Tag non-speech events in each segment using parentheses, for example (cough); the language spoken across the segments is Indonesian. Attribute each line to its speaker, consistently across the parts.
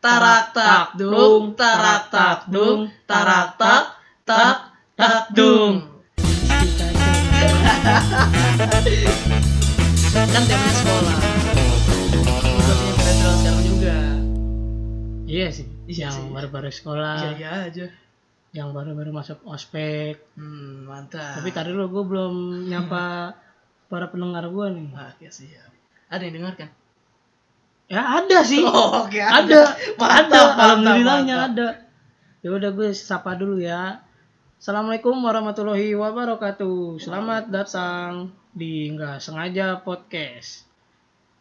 Speaker 1: tarak tak dung tarak tak dung tarak tak tak tak dung kan temen sekolah Bukannya federal sekarang juga
Speaker 2: Iya sih.
Speaker 1: Iya sih.
Speaker 2: yang baru-baru sekolah,
Speaker 1: iya iya aja
Speaker 2: yang baru-baru masuk ospek.
Speaker 1: hmm mantap
Speaker 2: Tapi tadi lo gue belum nyapa
Speaker 1: Iya.
Speaker 2: para pendengar gue nih.
Speaker 1: Wah, ya siap ada yang dengarkan
Speaker 2: Ya ada
Speaker 1: (laughs)
Speaker 2: sih.
Speaker 1: oh, oke
Speaker 2: ada. ada.
Speaker 1: mantap
Speaker 2: Alhamdulillahnya
Speaker 1: mantap.
Speaker 2: ada. Ya udah gue sapa dulu ya. Assalamualaikum warahmatullahi wabarakatuh. Selamat datang di nggak sengaja podcast.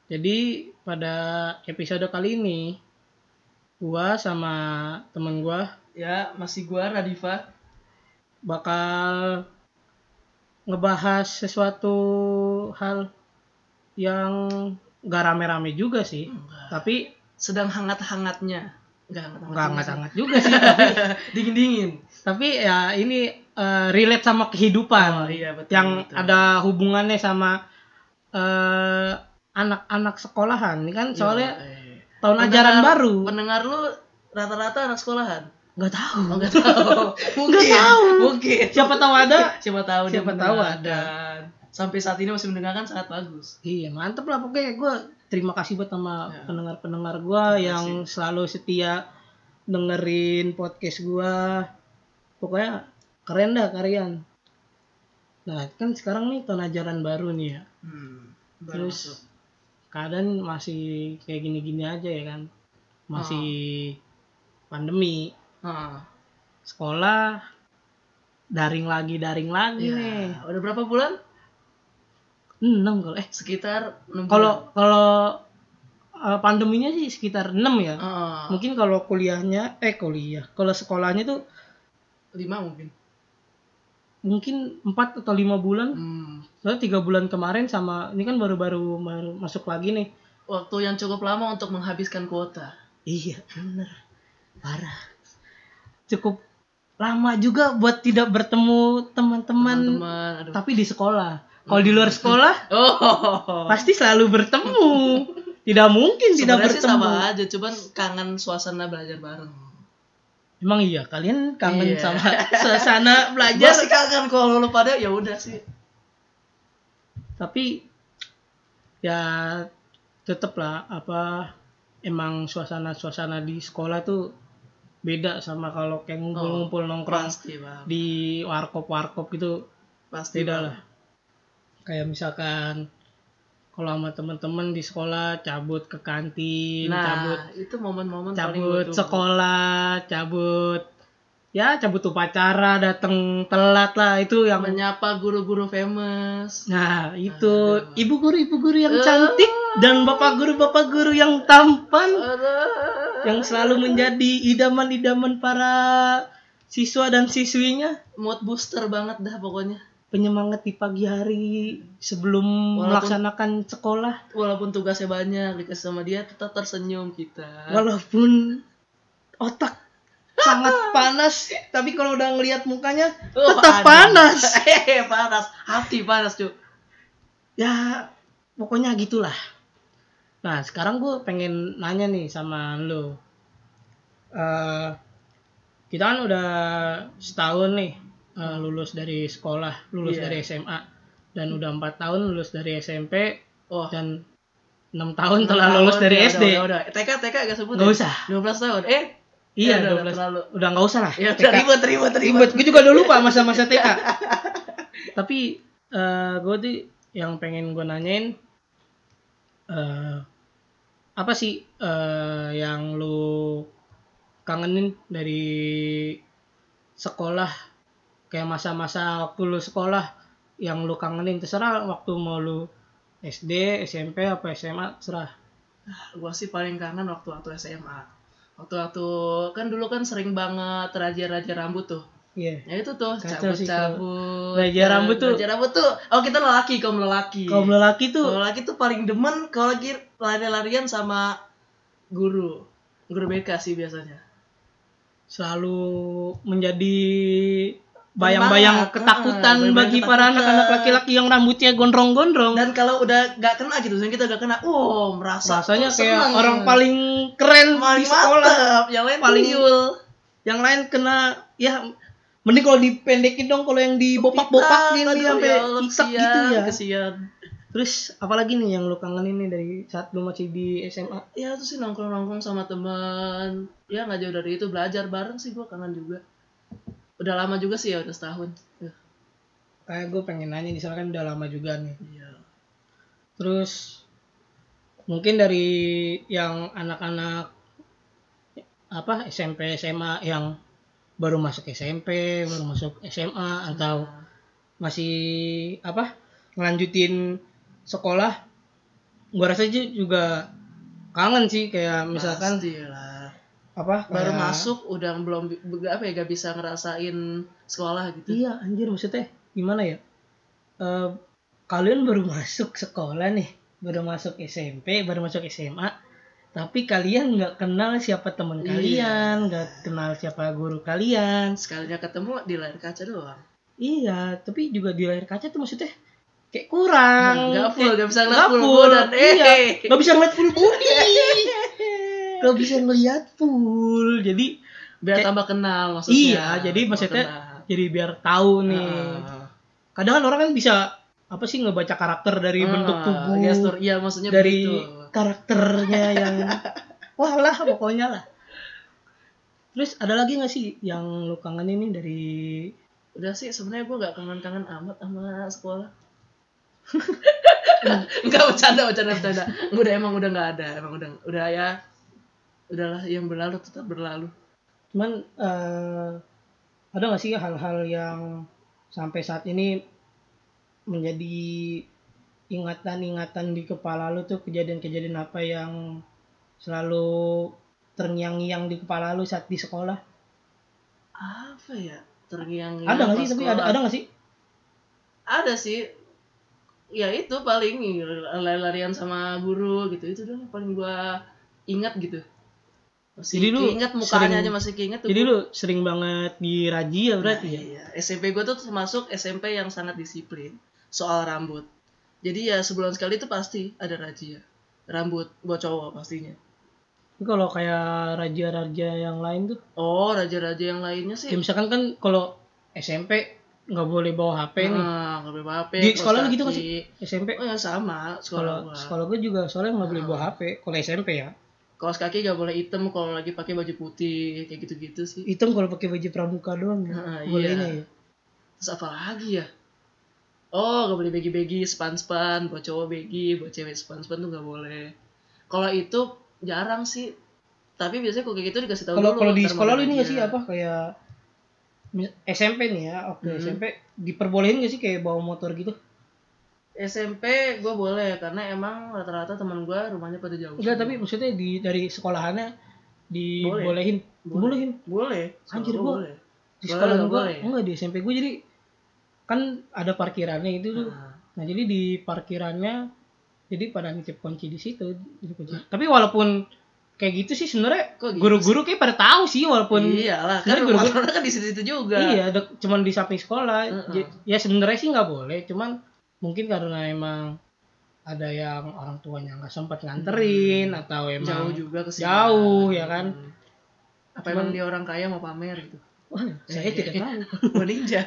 Speaker 2: Jadi pada episode kali ini gua sama temen gua
Speaker 1: ya masih gua Radifa
Speaker 2: bakal ngebahas sesuatu hal yang gak rame-rame juga sih.
Speaker 1: Enggak.
Speaker 2: Tapi
Speaker 1: sedang hangat-hangatnya enggak hangat-hangat
Speaker 2: nggak hangat-hangat juga
Speaker 1: (laughs)
Speaker 2: sih. tapi,
Speaker 1: dingin-dingin
Speaker 2: tapi ya ini eh, relate sama
Speaker 1: Oh,
Speaker 2: kehidupan.
Speaker 1: iya, betul,
Speaker 2: yang
Speaker 1: betul.
Speaker 2: ada hubungannya sama eh, anak-anak sekolahan. Ini kan soalnya
Speaker 1: Iya, iya.
Speaker 2: tahun
Speaker 1: Pendengar-
Speaker 2: ajaran baru.
Speaker 1: pendengar lu rata-rata anak sekolahan
Speaker 2: Nggak tahu.
Speaker 1: oh, enggak tahu mungkin
Speaker 2: tahu.
Speaker 1: mungkin
Speaker 2: Siapa tahu ada.
Speaker 1: siapa tahu dia
Speaker 2: Siapa tahu
Speaker 1: mendengar.
Speaker 2: ada.
Speaker 1: Dan sampai saat ini masih mendengarkan sangat bagus
Speaker 2: Iya mantep lah pokoknya gue terima kasih buat sama
Speaker 1: Ya.
Speaker 2: pendengar-pendengar gue
Speaker 1: Terima
Speaker 2: yang selalu setia dengerin podcast gue pokoknya keren dah kalian nah kan sekarang nih tahun ajaran baru nih ya
Speaker 1: hmm, baru masuk.
Speaker 2: terus keadaan masih kayak gini-gini aja ya kan masih pandemi
Speaker 1: Ah,
Speaker 2: sekolah daring lagi daring lagi
Speaker 1: ya.
Speaker 2: nih
Speaker 1: udah berapa bulan
Speaker 2: enam kalau eh
Speaker 1: sekitar enam bulan.
Speaker 2: kalau kalau eh, pandeminya sih sekitar 6 ya
Speaker 1: Ah,
Speaker 2: mungkin kalau kuliahnya eh kuliah kalau sekolahnya tuh
Speaker 1: lima mungkin
Speaker 2: mungkin 4 atau lima bulan
Speaker 1: Hmm,
Speaker 2: soalnya tiga bulan kemarin sama ini kan baru-baru baru masuk lagi nih
Speaker 1: waktu yang cukup lama untuk menghabiskan kuota
Speaker 2: iya bener parah cukup lama juga buat tidak bertemu teman-teman
Speaker 1: teman-teman aduh
Speaker 2: tapi di sekolah kalau di luar sekolah
Speaker 1: oh
Speaker 2: pasti selalu bertemu tidak mungkin tidak
Speaker 1: sebenarnya sih sama
Speaker 2: bertemu
Speaker 1: aja cuman kangen suasana belajar bareng
Speaker 2: emang iya kalian kangen
Speaker 1: Iya.
Speaker 2: sama suasana
Speaker 1: belajar
Speaker 2: belajar
Speaker 1: sih kangen kalau lu pada ya udah sih
Speaker 2: tapi ya tetep lah apa emang suasana-suasana di sekolah tuh beda sama kalau kayak ngumpul-ngumpul
Speaker 1: Oh,
Speaker 2: nongkrong
Speaker 1: pasti bang
Speaker 2: di warkop-warkop gitu
Speaker 1: pasti
Speaker 2: beda
Speaker 1: Bang.
Speaker 2: lah kayak misalkan kalau sama temen-temen di sekolah cabut ke kantin
Speaker 1: nah
Speaker 2: cabut
Speaker 1: itu momen-momen paling
Speaker 2: cabut
Speaker 1: gua tunggu.
Speaker 2: sekolah cabut ya cabut upacara datang telat lah itu yang
Speaker 1: menyapa guru-guru famous
Speaker 2: Nah, itu
Speaker 1: Aduh.
Speaker 2: ibu guru ibu guru yang cantik dan bapak guru bapak guru yang tampan
Speaker 1: Aduh.
Speaker 2: yang selalu menjadi idaman-idaman para siswa dan siswinya.
Speaker 1: mood booster banget dah pokoknya
Speaker 2: Penyemangat di pagi hari sebelum
Speaker 1: Walaupun-
Speaker 2: melaksanakan sekolah
Speaker 1: walaupun tugasnya banyak dikasih sama dia tetap tersenyum kita
Speaker 2: walaupun otak
Speaker 1: (laughs)
Speaker 2: sangat panas tapi kalau udah ngelihat mukanya
Speaker 1: Oh,
Speaker 2: tetap
Speaker 1: aduh.
Speaker 2: panas.
Speaker 1: (laughs) eh panas hati panas cuy
Speaker 2: Ya pokoknya gitulah. Nah sekarang gue pengen nanya nih sama lo. Eh, kita kan udah setahun nih eh, lulus dari sekolah, lulus
Speaker 1: Iya.
Speaker 2: dari SMA, dan udah empat tahun lulus dari SMP
Speaker 1: oh
Speaker 2: dan enam tahun telah lulus dari
Speaker 1: iya, udah,
Speaker 2: SD.
Speaker 1: udah, udah. Eh, TK TK gak sebut
Speaker 2: Nggak
Speaker 1: ya?
Speaker 2: usah.
Speaker 1: 12 tahun eh
Speaker 2: Iya,
Speaker 1: ya udah, udah,
Speaker 2: 12.
Speaker 1: terlalu
Speaker 2: Udah nggak usah lah.
Speaker 1: (laughs) ya udah
Speaker 2: TK.
Speaker 1: ribet ribet ribet
Speaker 2: ribet gue juga udah lupa masa-masa TK (laughs) tapi gue tuh yang pengen gue nanyain eh, apa sih eh, yang lu kangenin dari sekolah kayak masa-masa waktu lu sekolah yang lu kangenin terserah waktu mau lu SD SMP apa SMA terserah
Speaker 1: gue sih paling kangen waktu waktu SMA waktu waktu kan dulu kan sering banget raja-raja rambut tuh
Speaker 2: iya
Speaker 1: ya itu tuh
Speaker 2: Kacau sih
Speaker 1: cabut-cabut
Speaker 2: kalau raja rambut tuh.
Speaker 1: raja rambut tuh oh kita lelaki kaum lelaki
Speaker 2: kaum lelaki
Speaker 1: Kaum
Speaker 2: tuh
Speaker 1: lelaki tuh paling demen kalau lagi lari-larian sama guru guru BK sih biasanya
Speaker 2: selalu menjadi bayang-bayang
Speaker 1: Semangat,
Speaker 2: ketakutan
Speaker 1: ah, bayang-bayang
Speaker 2: bagi para
Speaker 1: ketakutan.
Speaker 2: anak-anak laki-laki yang rambutnya gondrong-gondrong.
Speaker 1: dan kalau udah gak kena gitu misalnya kita gak kena wow merasa
Speaker 2: Rasanya
Speaker 1: kok
Speaker 2: kayak
Speaker 1: seneng.
Speaker 2: orang paling keren di
Speaker 1: paling
Speaker 2: sekolah.
Speaker 1: mantep yang lain
Speaker 2: Paling-
Speaker 1: paling
Speaker 2: Yang lain kena ya mending kalau dipendekin dong kalau yang dibopak-bopak
Speaker 1: Pitan,
Speaker 2: gitu
Speaker 1: aduh,
Speaker 2: sampai
Speaker 1: ya Allah,
Speaker 2: isak
Speaker 1: kesian,
Speaker 2: gitu ya.
Speaker 1: kesian
Speaker 2: Terus apalagi nih yang lu kangenin nih dari saat lu masih di SMA?
Speaker 1: ya tuh sih nongkrong nongkrong sama teman ya nggak jauh dari itu belajar bareng sih gue kangen juga udah lama juga sih ya udah setahun Ya.
Speaker 2: Kayak gue Eh, pengen nanya di sana kan udah lama juga nih.
Speaker 1: Iya.
Speaker 2: Terus mungkin dari yang anak-anak apa SMP SMA yang baru masuk SMP, baru masuk SMA atau masih apa ngelanjutin sekolah gua rasa ju- juga kangen sih kayak misalkan
Speaker 1: Pastilah.
Speaker 2: apa
Speaker 1: baru
Speaker 2: kayak-
Speaker 1: masuk udah belum be- apa ya gak bisa ngerasain sekolah gitu
Speaker 2: iya anjir maksudnya gimana ya Eh, kalian baru masuk sekolah nih baru masuk SMP baru masuk SMA tapi kalian nggak kenal siapa teman
Speaker 1: Iya.
Speaker 2: kalian nggak kenal siapa guru kalian
Speaker 1: sekalinya ketemu di layar kaca doang
Speaker 2: iya tapi juga di layar kaca tuh maksudnya kayak kurang
Speaker 1: nggak full
Speaker 2: Kayak-
Speaker 1: nggak bisa
Speaker 2: nggak
Speaker 1: ngeliat full full dan
Speaker 2: iya.
Speaker 1: eh
Speaker 2: nggak bisa ngeliat full body
Speaker 1: Iya.
Speaker 2: nggak bisa ngeliat full jadi
Speaker 1: biar
Speaker 2: Kayak-
Speaker 1: tambah kenal maksudnya
Speaker 2: iya jadi
Speaker 1: Tambah
Speaker 2: maksudnya
Speaker 1: kenal.
Speaker 2: jadi biar tahu nih
Speaker 1: Ah.
Speaker 2: kadang kan orang kan bisa apa sih ngebaca karakter
Speaker 1: Ah,
Speaker 2: dari bentuk tubuh
Speaker 1: gestur iya maksudnya
Speaker 2: dari
Speaker 1: begitu. (laughs)
Speaker 2: karakternya yang wah lah pokoknya lah terus ada lagi nggak sih yang lu kangen ini dari
Speaker 1: udah sih sebenarnya gue nggak kangen-kangen amat sama
Speaker 2: (laughs)
Speaker 1: sekolah nggak bercanda bercanda bercanda udah emang udah nggak ada emang udah udah ya udahlah yang berlalu tetap berlalu
Speaker 2: cuman eh, ada nggak sih hal-hal yang sampai saat ini menjadi ingatan-ingatan di kepala lu tuh kejadian-kejadian apa yang selalu terngiang-ngiang di kepala lu saat di sekolah
Speaker 1: apa ya terngiang
Speaker 2: ada nggak sih tapi ada ada nggak sih
Speaker 1: ada sih ya itu paling lari-larian sama guru gitu itu doang yang paling gue ingat gitu masih
Speaker 2: Jadi lu
Speaker 1: ingat mukanya
Speaker 2: sering-
Speaker 1: aja masih keinget tuh
Speaker 2: Jadi lu sering banget di razia berarti ya?
Speaker 1: Iya, SMP gue tuh termasuk SMP yang sangat disiplin soal rambut. Jadi ya sebulan sekali itu pasti ada razia rambut buat cowok pastinya.
Speaker 2: Tapi kalau kayak raja-raja yang lain tuh,
Speaker 1: Oh, raja-raja yang lainnya sih.
Speaker 2: ya misalkan kan kalau SMP nggak boleh bawa HP nih.
Speaker 1: Ah, nggak boleh bawa HP.
Speaker 2: Di
Speaker 1: kaos
Speaker 2: sekolah lu gitu
Speaker 1: kaki.
Speaker 2: nggak sih? SMP
Speaker 1: Oh ya sama sekolah
Speaker 2: kalau
Speaker 1: gua.
Speaker 2: sekolah gue juga soalnya nggak boleh
Speaker 1: Hmm.
Speaker 2: bawa HP. Kalau SMP ya,
Speaker 1: Kaos kaki nggak boleh hitam kalau lagi pakai baju putih kayak gitu-gitu sih.
Speaker 2: hitam kalau pakai baju pramuka doang ya.
Speaker 1: Ah, iya.
Speaker 2: bolehnya ya.
Speaker 1: Terus apa lagi ya? Oh, gak boleh bagi-bagi, span-span, buat cowok bagi, buat cewek span-span tuh gak boleh. Kalau itu jarang sih. Tapi biasanya kalau kayak gitu dikasih tahu
Speaker 2: Kalau
Speaker 1: dulu.
Speaker 2: kalau di
Speaker 1: ntar
Speaker 2: sekolah lu
Speaker 1: mana
Speaker 2: ini nggak sih ya?
Speaker 1: aja.
Speaker 2: apa kayak mis- SMP nih ya, waktu
Speaker 1: Hmm.
Speaker 2: SMP diperbolehin nggak sih kayak bawa motor gitu?
Speaker 1: SMP gue boleh, karena emang rata-rata teman gue rumahnya pada jauh.
Speaker 2: Enggak, tapi maksudnya di dari sekolahannya dibolehin, dibolehin.
Speaker 1: Boleh. Boleh.
Speaker 2: Anjir,
Speaker 1: Sekolah
Speaker 2: gua-
Speaker 1: boleh.
Speaker 2: di
Speaker 1: Sekolah
Speaker 2: sekolah
Speaker 1: nggak
Speaker 2: gue
Speaker 1: boleh ya?
Speaker 2: enggak di SMP gue jadi kan ada parkirannya itu tuh
Speaker 1: Ah.
Speaker 2: nah jadi di parkirannya jadi pada nitip kunci di situ jadi kunci. tapi walaupun kayak gitu sih sebenarnya
Speaker 1: Kok gitu
Speaker 2: guru-guru kayak pada tahu sih walaupun
Speaker 1: Iyalah, kan
Speaker 2: Sebenarnya
Speaker 1: rumah
Speaker 2: guru-guru-
Speaker 1: orang kan di situ juga.
Speaker 2: iya dek- cuman di samping sekolah
Speaker 1: Heeh.
Speaker 2: Ja- ya sebenarnya sih nggak boleh cuman mungkin karena emang ada yang orang tuanya nggak sempat nganterin atau emang
Speaker 1: Hmm. Jauh juga ke sini.
Speaker 2: jauh, ya kan?
Speaker 1: Hmm. Apa emang dia orang kaya mau pamer
Speaker 2: (laughs)
Speaker 1: gitu?
Speaker 2: Wah, saya
Speaker 1: eh,
Speaker 2: tidak tahu
Speaker 1: Meninjau.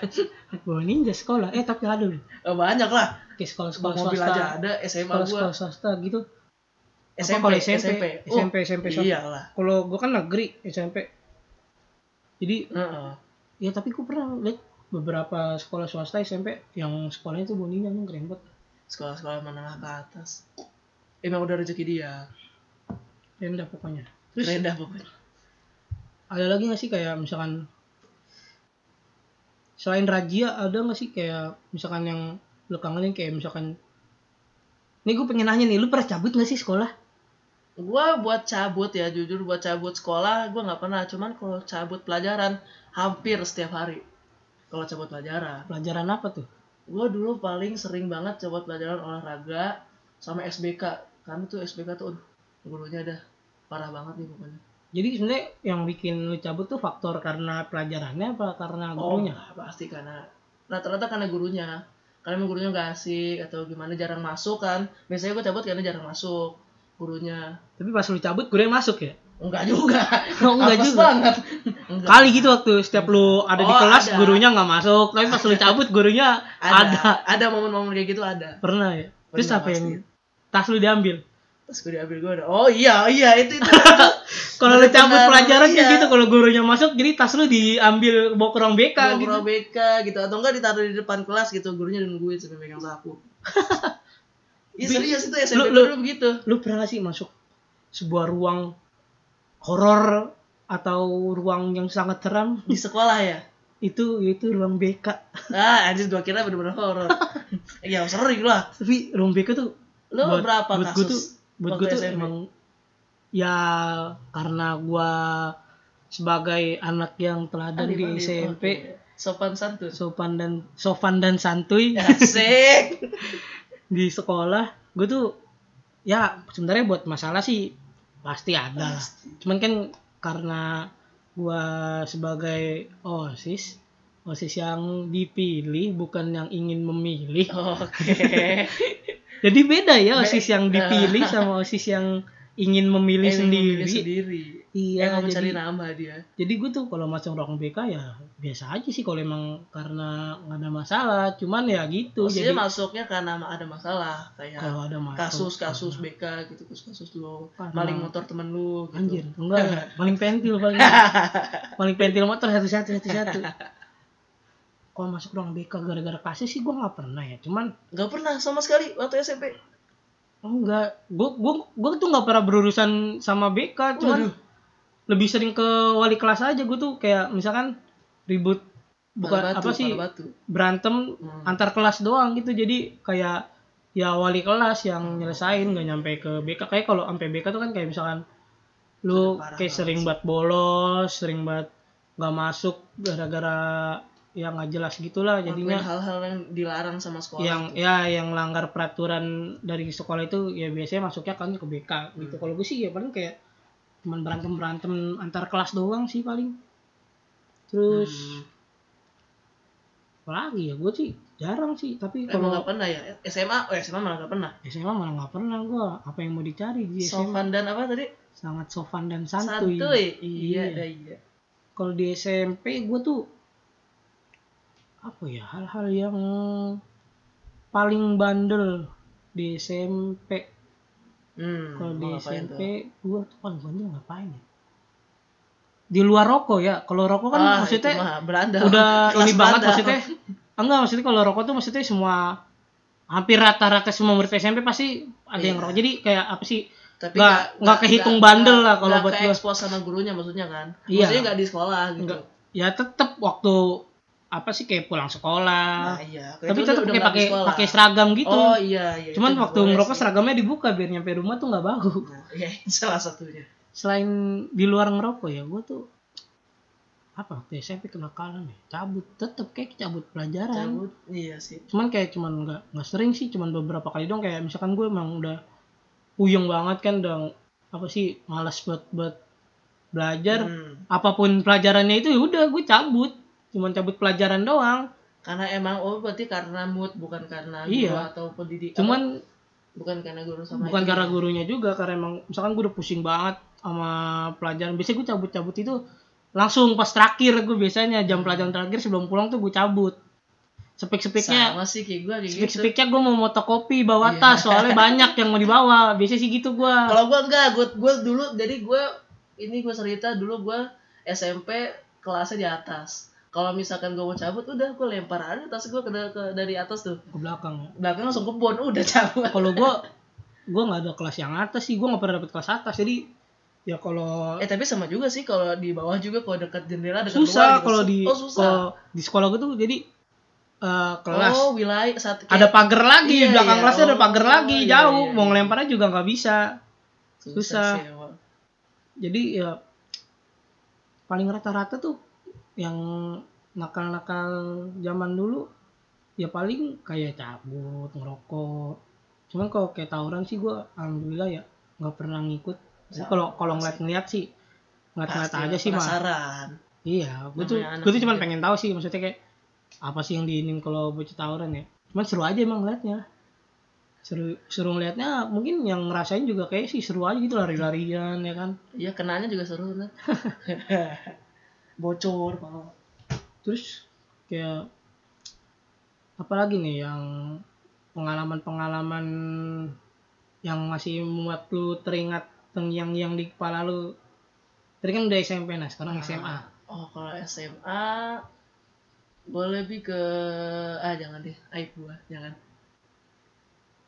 Speaker 2: bahwa ninja sekolah eh tapi ada loh
Speaker 1: Eh, banyak lah.
Speaker 2: kayak sekolah-sekolah
Speaker 1: Bang mobil
Speaker 2: swasta.
Speaker 1: aja ada SMA
Speaker 2: sekolah
Speaker 1: gua
Speaker 2: sekolah swasta gitu Apa
Speaker 1: SMP
Speaker 2: kalau SMP? SMP, SMP,
Speaker 1: Oh,
Speaker 2: swasta.
Speaker 1: iyalah
Speaker 2: kalau gue kan negeri SMP jadi
Speaker 1: Heeh.
Speaker 2: ya tapi gue pernah lihat beberapa sekolah swasta SMP yang sekolahnya tuh boninya emang keren banget
Speaker 1: sekolah-sekolah menengah ke atas emang udah rezeki dia
Speaker 2: keren dah pokoknya terus
Speaker 1: keren dah pokoknya
Speaker 2: ada lagi nggak sih kayak misalkan selain razia ada nggak sih kayak misalkan yang lu kangenin kayak misalkan ini gue pengen nanya nih lu pernah cabut nggak sih sekolah
Speaker 1: gua buat cabut ya jujur buat cabut sekolah gua nggak pernah cuman kalau cabut pelajaran hampir setiap hari kalau cabut pelajaran
Speaker 2: pelajaran apa tuh
Speaker 1: gue dulu paling sering banget coba pelajaran olahraga sama SBK karena tuh SBK tuh aduh, gurunya dah parah banget nih pokoknya
Speaker 2: Jadi sebenarnya yang bikin lu cabut tuh faktor karena pelajarannya apa
Speaker 1: Oh,
Speaker 2: karena Ah, gurunya?
Speaker 1: pasti karena rata-rata karena gurunya. Karena emang gurunya nggak asik atau gimana jarang masuk kan. Biasanya gue cabut karena jarang masuk gurunya.
Speaker 2: Tapi pas lu cabut gurunya masuk ya?
Speaker 1: Enggak juga.
Speaker 2: Oh, enggak
Speaker 1: Apes
Speaker 2: juga.
Speaker 1: banget. Enggak.
Speaker 2: Kali gitu waktu setiap lu ada di
Speaker 1: Oh,
Speaker 2: kelas
Speaker 1: ada.
Speaker 2: gurunya nggak masuk, tapi pas lu cabut gurunya
Speaker 1: ada.
Speaker 2: ada.
Speaker 1: Ada momen-momen kayak gitu ada.
Speaker 2: Pernah ya? Terus
Speaker 1: Pernah
Speaker 2: apa yang
Speaker 1: pasti.
Speaker 2: tas lu diambil?
Speaker 1: Terus gue diambil gue ada. Oh iya iya itu itu.
Speaker 2: Kalau lu cabut
Speaker 1: Bener-bener,
Speaker 2: pelajaran kayak
Speaker 1: iya.
Speaker 2: gitu kalau gurunya masuk jadi tas lu diambil bawa ke ruang BK
Speaker 1: Bawa
Speaker 2: gitu.
Speaker 1: gitu. BK gitu atau enggak ditaruh di depan kelas gitu gurunya nungguin sampai megang
Speaker 2: (laughs)
Speaker 1: sapu. Iya serius itu SMP
Speaker 2: Lu- lu-
Speaker 1: dulu begitu.
Speaker 2: Lu pernah gak sih masuk sebuah ruang horor atau ruang yang sangat terang
Speaker 1: Di sekolah ya.
Speaker 2: itu itu ruang BK
Speaker 1: Ah, anjir gua kira bener-bener
Speaker 2: (laughs)
Speaker 1: horor. ya sering lah.
Speaker 2: tapi ruang BK tuh
Speaker 1: Lo
Speaker 2: buat-
Speaker 1: berapa
Speaker 2: buat
Speaker 1: kasus?
Speaker 2: gua tuh buat
Speaker 1: waktu
Speaker 2: gue tuh
Speaker 1: SMP?
Speaker 2: emang ya karena gua sebagai anak yang teladan
Speaker 1: Adip,
Speaker 2: di
Speaker 1: adip,
Speaker 2: SMP
Speaker 1: Ah, oke. Sopan santun.
Speaker 2: sopan dan sopan dan
Speaker 1: (laughs)
Speaker 2: santuy (laughs)
Speaker 1: Asik.
Speaker 2: di sekolah gue tuh ya sebenarnya buat masalah sih pasti ada lah. cuman kan karena gua sebagai osis osis yang dipilih bukan yang ingin memilih
Speaker 1: Oke.
Speaker 2: jadi beda ya
Speaker 1: Be-
Speaker 2: osis yang
Speaker 1: (laughs)
Speaker 2: dipilih sama osis yang ingin memilih
Speaker 1: Eh,
Speaker 2: sendiri
Speaker 1: memilih sendiri.
Speaker 2: iya
Speaker 1: Emang mencari
Speaker 2: jadi
Speaker 1: nama dia.
Speaker 2: jadi gue tuh kalau masuk ruang BK ya biasa aja sih kalau emang karena nggak ada masalah cuman ya gitu
Speaker 1: Maksudnya
Speaker 2: jadi
Speaker 1: masuknya karena ma- ada masalah kayak
Speaker 2: kalau ada masalah
Speaker 1: kasus-kasus BK gitu, kasus-kasus lo
Speaker 2: Karena-
Speaker 1: maling motor temen lu gitu.
Speaker 2: Anjir, enggak, enggak.
Speaker 1: (laughs)
Speaker 2: Paling pentil paling. paling pentil motor satu satu satu satu. Kalau masuk ruang BK gara-gara kasus sih gua nggak pernah ya. Cuman
Speaker 1: Gak pernah sama sekali waktu SMP.
Speaker 2: oh enggak, gua gua gua tuh nggak pernah berurusan sama BK, cuman
Speaker 1: Waduh.
Speaker 2: lebih sering ke wali kelas aja gua tuh kayak misalkan ribut bukan
Speaker 1: Pala batu,
Speaker 2: apa sih
Speaker 1: pala batu.
Speaker 2: berantem
Speaker 1: Hmm.
Speaker 2: antar kelas doang gitu. Jadi kayak ya wali
Speaker 1: Hmm.
Speaker 2: kelas yang nyelesain nggak nyampe ke BK. Kayak kalau sampai BK tuh kan kayak misalkan lu
Speaker 1: Parah
Speaker 2: kayak
Speaker 1: banget
Speaker 2: sering buat bolos, sering buat nggak masuk gara-gara yang nggak jelas gitulah
Speaker 1: Jadinya
Speaker 2: jadinya
Speaker 1: hal-hal yang dilarang sama sekolah.
Speaker 2: yang ya yang langgar peraturan dari sekolah itu ya biasanya masuknya kan ke BK gitu.
Speaker 1: Hmm.
Speaker 2: Kalau gue sih ya paling kayak cuman berantem berantem antar kelas doang sih paling. Terus
Speaker 1: Hmm.
Speaker 2: apa lagi ya gue sih jarang sih
Speaker 1: Emang
Speaker 2: tapi kalau
Speaker 1: gak pernah ya? SMA, oh SMA malah gak pernah.
Speaker 2: SMA malah nggak pernah gua apa yang mau dicari di SMA
Speaker 1: Sopan dan apa tadi?
Speaker 2: sangat sopan dan santuy,
Speaker 1: Santuy. Iya,
Speaker 2: Iya.
Speaker 1: iya. iya.
Speaker 2: kalau di SMP gua tuh apa ya hal-hal yang paling bandel di SMP
Speaker 1: Hmm,
Speaker 2: kalau di
Speaker 1: mau ngapain
Speaker 2: SMP
Speaker 1: tuh?
Speaker 2: gua tuh paling bandel ngapain ya di luar rokok ya kalau rokok kan
Speaker 1: Ah,
Speaker 2: maksudnya
Speaker 1: itu mah Belanda.
Speaker 2: udah
Speaker 1: (laughs) Kelas
Speaker 2: ini banget
Speaker 1: Belanda.
Speaker 2: maksudnya Ah, enggak maksudnya kalau rokok tuh maksudnya semua hampir rata-rata semua murid SMP pasti ada
Speaker 1: Iya.
Speaker 2: yang rokok jadi kayak apa sih
Speaker 1: Tapi
Speaker 2: nggak- nggak kehitung bandel lah kalau buat
Speaker 1: gue.
Speaker 2: gua.
Speaker 1: expose sama gurunya maksudnya kan.
Speaker 2: Iya.
Speaker 1: Maksudnya nggak di sekolah gitu.
Speaker 2: Nggak. ya tetap waktu apa sih kayak pulang
Speaker 1: Nah,
Speaker 2: sekolah
Speaker 1: iya. Kayak
Speaker 2: tapi
Speaker 1: itu
Speaker 2: tetap
Speaker 1: udah
Speaker 2: kayak
Speaker 1: nggak di
Speaker 2: pakai
Speaker 1: sekolah.
Speaker 2: pakai seragam gitu
Speaker 1: Oh iya, iya.
Speaker 2: cuman
Speaker 1: itu
Speaker 2: waktu
Speaker 1: nggak boleh
Speaker 2: ngerokok
Speaker 1: sih.
Speaker 2: seragamnya dibuka biar nyampe rumah tuh nggak bau
Speaker 1: Nah, Iya, (laughs) itu salah satunya.
Speaker 2: selain di luar ngerokok ya gue tuh apa waktu SMP kenakalan ya cabut tetap kayak cabut pelajaran
Speaker 1: Cabut. Iya sih.
Speaker 2: cuman kayak cuman nggak nggak sering sih cuman beberapa kali dong kayak misalkan gue emang udah puyeng banget kan udah apa sih malas buat buat belajar
Speaker 1: Hmm.
Speaker 2: apapun pelajarannya itu ya udah gue cabut cuman cabut pelajaran doang
Speaker 1: Karena emang oh berarti karena mood bukan karena
Speaker 2: Iya.
Speaker 1: guru atau pendidikan.
Speaker 2: cuman
Speaker 1: bukan karena guru sama
Speaker 2: bukan
Speaker 1: itu.
Speaker 2: karena gurunya juga karena emang misalkan gue udah pusing banget sama pelajaran biasanya gue cabut-cabut itu langsung pas terakhir gue biasanya
Speaker 1: Hmm.
Speaker 2: jam pelajaran terakhir sebelum pulang tuh gue cabut sepik-sepiknya
Speaker 1: sama sih kayak gue kayak
Speaker 2: sepik
Speaker 1: gitu. Iya.
Speaker 2: sepiknya gue mau motokopi bawa tas soalnya banyak yang mau dibawa biasanya sih gitu gue
Speaker 1: Kalau gue enggak, gue gue dulu jadi gue ini gue cerita dulu gue SMP kelasnya di atas. Kalau misalkan gue mau cabut, udah gue lempar aja tas gue ke, ke- dari atas tuh.
Speaker 2: ke belakang ya.
Speaker 1: Belakang langsung kebon, udah cabut.
Speaker 2: Kalau gua gua nggak ada kelas yang atas sih, gua nggak pernah dapet kelas atas. Jadi ya kalau
Speaker 1: Eh tapi sama juga sih kalau di bawah juga kalau dekat jendela dekat luar juga
Speaker 2: susah kalau
Speaker 1: su-
Speaker 2: di
Speaker 1: oh, susah.
Speaker 2: kalau di sekolah gua tuh jadi eh, kelas
Speaker 1: Oh, wilayah satu
Speaker 2: ada pagar lagi,
Speaker 1: Iya,
Speaker 2: belakang
Speaker 1: iya.
Speaker 2: kelasnya ada
Speaker 1: Oh,
Speaker 2: pagar lagi
Speaker 1: iya,
Speaker 2: jauh,
Speaker 1: iya,
Speaker 2: mau
Speaker 1: iya.
Speaker 2: ngelemparnya juga nggak bisa. susah.
Speaker 1: sih, emang.
Speaker 2: Jadi ya paling rata-rata tuh yang nakal-nakal zaman dulu ya paling kayak cabut, ngerokok. Cuman kalau kayak tawuran sih gua alhamdulillah ya nggak pernah ngikut. Tapi
Speaker 1: Sama,
Speaker 2: Kalau kalau
Speaker 1: pasti.
Speaker 2: ngeliat-ngeliat sih
Speaker 1: Iya.
Speaker 2: ngat-ngat
Speaker 1: Pasti ya,
Speaker 2: aja sih mah
Speaker 1: penasaran.
Speaker 2: iya gue tuh
Speaker 1: Namanya anak
Speaker 2: gue tuh cuma
Speaker 1: juga.
Speaker 2: pengen tahu sih maksudnya kayak apa sih yang diinin kalau bocah tawuran ya cuman seru aja emang ngeliatnya seru seru ngeliatnya mungkin yang ngerasain juga kayak sih seru aja gitu lari-larian ya kan
Speaker 1: Iya kenanya juga seru kan. Bocor kalau
Speaker 2: terus kayak apalagi nih yang pengalaman-pengalaman yang masih membuat lu teringat tengyang yang di kepala lu tadi kan udah SMP nah sekarang SMA
Speaker 1: Oh kalau SMA gue lebih ke ah jangan deh aib gua jangan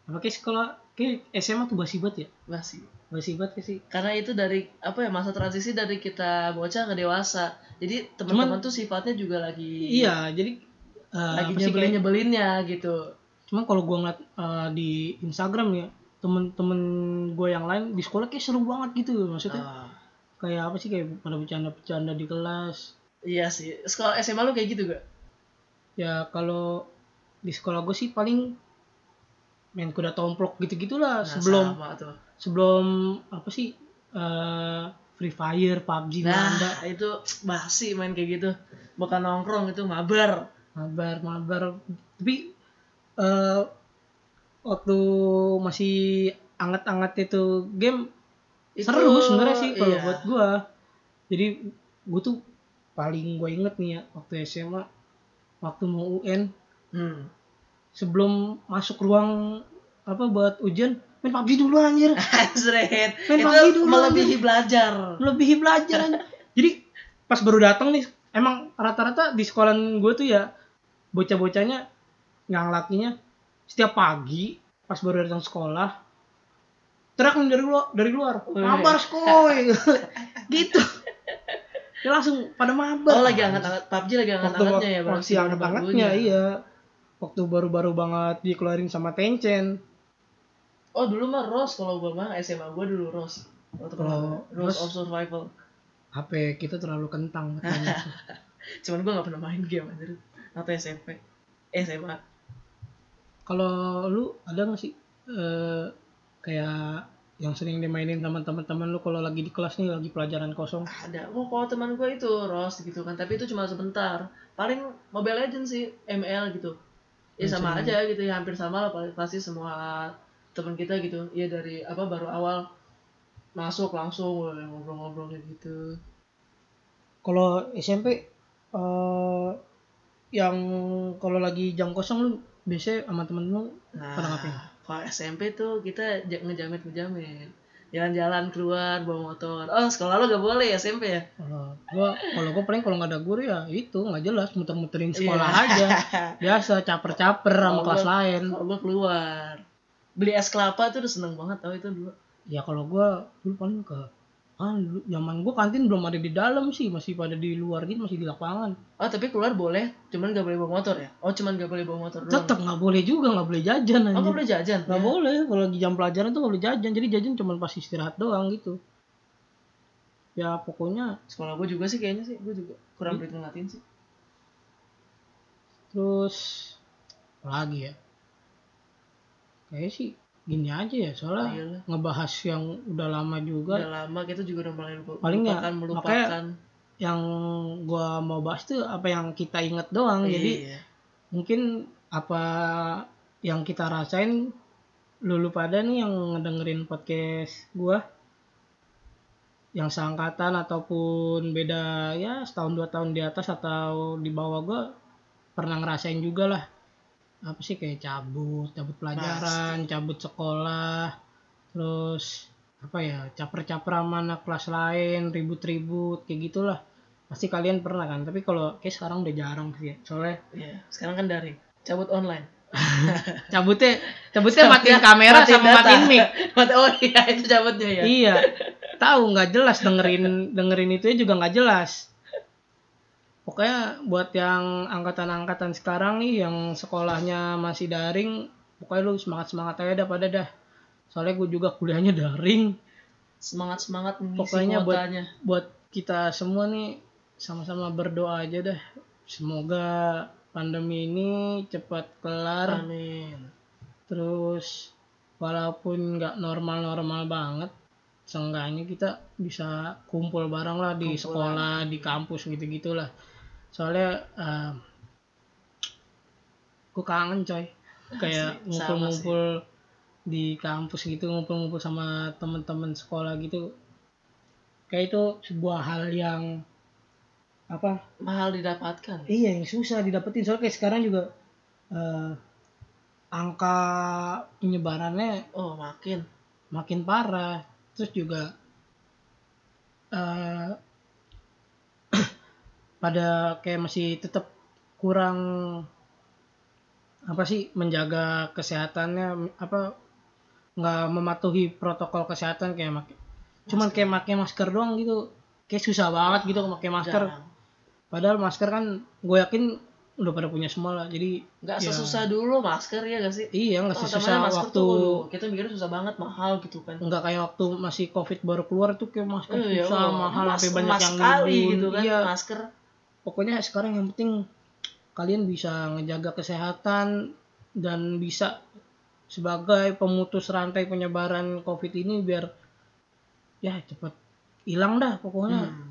Speaker 2: apa kayak sekolah kayak SMA tuh basi banget ya
Speaker 1: masih
Speaker 2: basi banget kayak sih
Speaker 1: karena itu dari apa ya masa transisi dari kita bocah ke dewasa jadi teman-teman tuh sifatnya juga lagi
Speaker 2: iya jadi eh,
Speaker 1: lagi
Speaker 2: apa sih,
Speaker 1: nyebelin
Speaker 2: kayak-
Speaker 1: nyebelinnya gitu
Speaker 2: cuman kalau gua ngeliat eh, di Instagram ya temen-temen gue yang lain di sekolah kayak seru banget gitu
Speaker 1: Ah,
Speaker 2: maksudnya kayak apa sih kayak pada bercanda-bercanda di kelas
Speaker 1: iya sih sekolah SMA lu kayak gitu gak
Speaker 2: ya kalau di sekolah gue sih paling main kuda tomplok gitu-gitulah
Speaker 1: Nah,
Speaker 2: sebelum
Speaker 1: sama tuh.
Speaker 2: sebelum apa sih eh Free Fire, PUBG, Manda,
Speaker 1: nah itu basi main kayak gitu bukan nongkrong itu mabar
Speaker 2: mabar, mabar. Tapi eh waktu masih anget-anget itu game
Speaker 1: Itu-
Speaker 2: seru sebenarnya sih kalau
Speaker 1: iya.
Speaker 2: buat gua. Jadi gue tuh paling gue inget nih ya waktu SMA, waktu mau UN
Speaker 1: hmm.
Speaker 2: sebelum masuk ruang apa buat ujian main PUBG dulu anjir
Speaker 1: Seret.
Speaker 2: Main
Speaker 1: itu
Speaker 2: PUBG dulu,
Speaker 1: melebihi belajar
Speaker 2: melebihi belajar anjir. (laughs) jadi pas baru datang nih emang rata-rata di sekolah gue tuh ya bocah-bocahnya yang lakinya setiap pagi pas baru datang sekolah teriak nih dari luar dari luar
Speaker 1: Wih.
Speaker 2: mabar skoy (laughs) gitu dia langsung pada mabar
Speaker 1: Oh lagi anget-anget PUBG lagi
Speaker 2: waktu
Speaker 1: anget-angetnya ya baru
Speaker 2: waktu anget-angetnya
Speaker 1: baru-barunya.
Speaker 2: iya waktu baru-baru banget dikeluarin sama Tencen
Speaker 1: Oh dulu mah Rose kalau gua mah SMA gua dulu Rose. Waktu
Speaker 2: Kalau
Speaker 1: pertama, Rose, of
Speaker 2: Oh, Rose.
Speaker 1: Survival.
Speaker 2: HP kita terlalu kentang katanya.
Speaker 1: (laughs) Cuman gua nggak pernah main game anjir. Atau SMP. Eh, SMA.
Speaker 2: Kalau lu ada nggak sih eh, kayak yang sering dimainin sama teman-teman lu kalau lagi di kelas nih lagi pelajaran kosong?
Speaker 1: Ada. Oh kalau teman gua itu Rose gitu kan. Tapi itu cuma sebentar. Paling Mobile Legends sih ML gitu. Ya
Speaker 2: Hmm,
Speaker 1: sama
Speaker 2: sama.
Speaker 1: aja gitu ya hampir sama lah paling- pasti semua teman kita gitu. Iya dari apa baru awal masuk langsung wah, ngobrol-ngobrol kayak gitu.
Speaker 2: Kalau SMP eh, yang kalau lagi jam kosong lu biasanya sama temen lu
Speaker 1: Nah,
Speaker 2: pada ngapain?
Speaker 1: kalau SMP tuh kita ja- ngejamet-ngejamet. Jalan-jalan keluar bawa motor. Oh, sekolah lo gak boleh SMP ya?
Speaker 2: Kalau gua kalau gua paling kalau nggak ada guru ya itu nggak jelas muter-muterin sekolah
Speaker 1: Iya. (laughs)
Speaker 2: aja biasa caper-caper sama
Speaker 1: Kalau
Speaker 2: kelas
Speaker 1: gua-
Speaker 2: lain.
Speaker 1: Kalau gue keluar. Beli es kelapa tuh udah seneng banget tau itu dulu.
Speaker 2: Ya kalau gua dulu paling ke kan dulu zaman gua kantin belum ada di dalam sih masih pada di luar gitu masih di lapangan.
Speaker 1: Oh, tapi keluar boleh, cuman gak boleh bawa motor ya? Oh, cuman gak boleh bawa motor doang.
Speaker 2: tetap nggak boleh juga nggak boleh
Speaker 1: Oh,
Speaker 2: jajan anjir
Speaker 1: nggak
Speaker 2: nggak
Speaker 1: boleh jajan? Ya.
Speaker 2: boleh kalau lagi jam pelajaran tuh nggak boleh jajan jadi jajan cuma pas istirahat doang gitu ya pokoknya
Speaker 1: Sekolah gue juga sih kayaknya sih. Gue juga kurang duit ngelatin sih.
Speaker 2: terus apa lagi ya kayak sih gini aja ya soalnya
Speaker 1: Oh, Iyalah. Iya.
Speaker 2: ngebahas yang udah lama juga
Speaker 1: Udah lama kita juga udah mulai lupa-
Speaker 2: Paling ya,
Speaker 1: melupakan, melupakan.
Speaker 2: makanya yang gua mau bahas tuh apa yang kita inget doang jadi
Speaker 1: Iya.
Speaker 2: mungkin apa yang kita rasain lulu pada nih yang ngedengerin podcast gua yang seangkatan ataupun beda ya setahun dua tahun di atas atau di bawah gua pernah ngerasain juga lah apa sih kayak cabut cabut pelajaran cabut sekolah terus apa ya caper-caper sama anak kelas lain ribut-ribut kayak gitulah pasti kalian pernah kan tapi kalau kayak sekarang udah jarang sih ya. soalnya
Speaker 1: Iya. Sekarang kan daring. Cabut online.
Speaker 2: cabutnya cabutnya matiin
Speaker 1: (laughs)
Speaker 2: kamera sama
Speaker 1: data.
Speaker 2: matiin
Speaker 1: (laughs)
Speaker 2: mic
Speaker 1: Mati- oh iya, itu cabutnya ya.
Speaker 2: iya tahu nggak jelas dengerin dengerin itu juga nggak jelas pokoknya buat yang angkatan-angkatan sekarang nih yang sekolahnya masih daring pokoknya lu semangat semangat aja dah pada dah soalnya gue juga kuliahnya daring
Speaker 1: semangat semangat mengisi
Speaker 2: Pokoknya buat-
Speaker 1: kuotanya
Speaker 2: buat kita semua nih sama-sama berdoa aja dah semoga pandemi ini cepat kelar
Speaker 1: amin
Speaker 2: Terus walaupun nggak normal-normal banget, seenggaknya kita bisa kumpul bareng lah di
Speaker 1: Kumpul
Speaker 2: sekolah di kampus gitu gitulah soalnya eh, gue kangen coy kayak
Speaker 1: Sama
Speaker 2: ngumpul-ngumpul di kampus gitu ngumpul-ngumpul sama temen-temen sekolah gitu kayak itu sebuah hal yang apa
Speaker 1: mahal didapatkan
Speaker 2: Iya yang susah didapetin soalnya kayak sekarang juga eh, angka penyebarannya
Speaker 1: oh makin
Speaker 2: makin parah terus juga eh, (clears throat) pada kayak masih tetap kurang apa sih menjaga kesehatannya apa nggak mematuhi protokol kesehatan kayak mak- cuman kayak pakai masker doang gitu kayak susah banget gitu pakai masker
Speaker 1: jarang
Speaker 2: Padahal masker kan gue yakin udah pada punya semua lah. Jadi
Speaker 1: nggak
Speaker 2: Ya.
Speaker 1: sesusah dulu masker ya gak sih
Speaker 2: iya nggak
Speaker 1: Oh,
Speaker 2: sesusah
Speaker 1: utamanya masker
Speaker 2: waktu
Speaker 1: tuh waduh, kita mikirnya susah banget mahal gitu kan
Speaker 2: nggak kayak waktu masih covid baru keluar tuh kayak masker
Speaker 1: Iya,
Speaker 2: susah
Speaker 1: oh,
Speaker 2: mahal
Speaker 1: mas-
Speaker 2: sampai banyak
Speaker 1: mas
Speaker 2: yang
Speaker 1: sekali
Speaker 2: nimbun.
Speaker 1: gitu kan
Speaker 2: Iya,
Speaker 1: masker
Speaker 2: pokoknya sekarang yang penting kalian bisa ngejaga kesehatan dan bisa sebagai pemutus rantai penyebaran covid ini biar ya cepet hilang dah pokoknya.
Speaker 1: Hmm.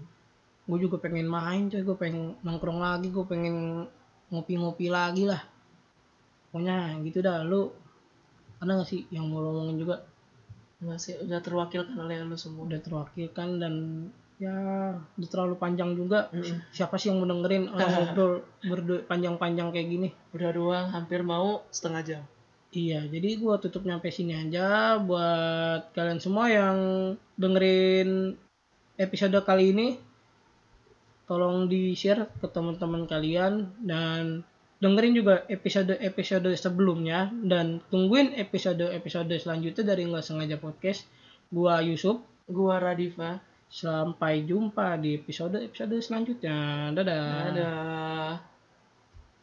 Speaker 2: gue juga pengen main coy gue pengen nongkrong lagi gue pengen ngopi-ngopi lagi lah pokoknya gitu dah lu ada gak sih yang mau lo ngomongin juga
Speaker 1: masih udah terwakilkan oleh lu semua
Speaker 2: udah terwakilkan dan ya udah terlalu panjang juga
Speaker 1: Mm-mm.
Speaker 2: siapa sih yang mau dengerin orang ngobrol berdua panjang-panjang kayak gini
Speaker 1: udah doang hampir mau setengah jam
Speaker 2: Iya, jadi gua tutup nyampe sini aja buat kalian semua yang dengerin episode kali ini. Tolong di-share ke teman-teman kalian dan dengerin juga episode-episode sebelumnya dan tungguin episode-episode selanjutnya dari nggak sengaja podcast. Gua Yusuf,
Speaker 1: gua Radifa
Speaker 2: Nah. sampai jumpa di episode-episode selanjutnya. Dadah.
Speaker 1: ada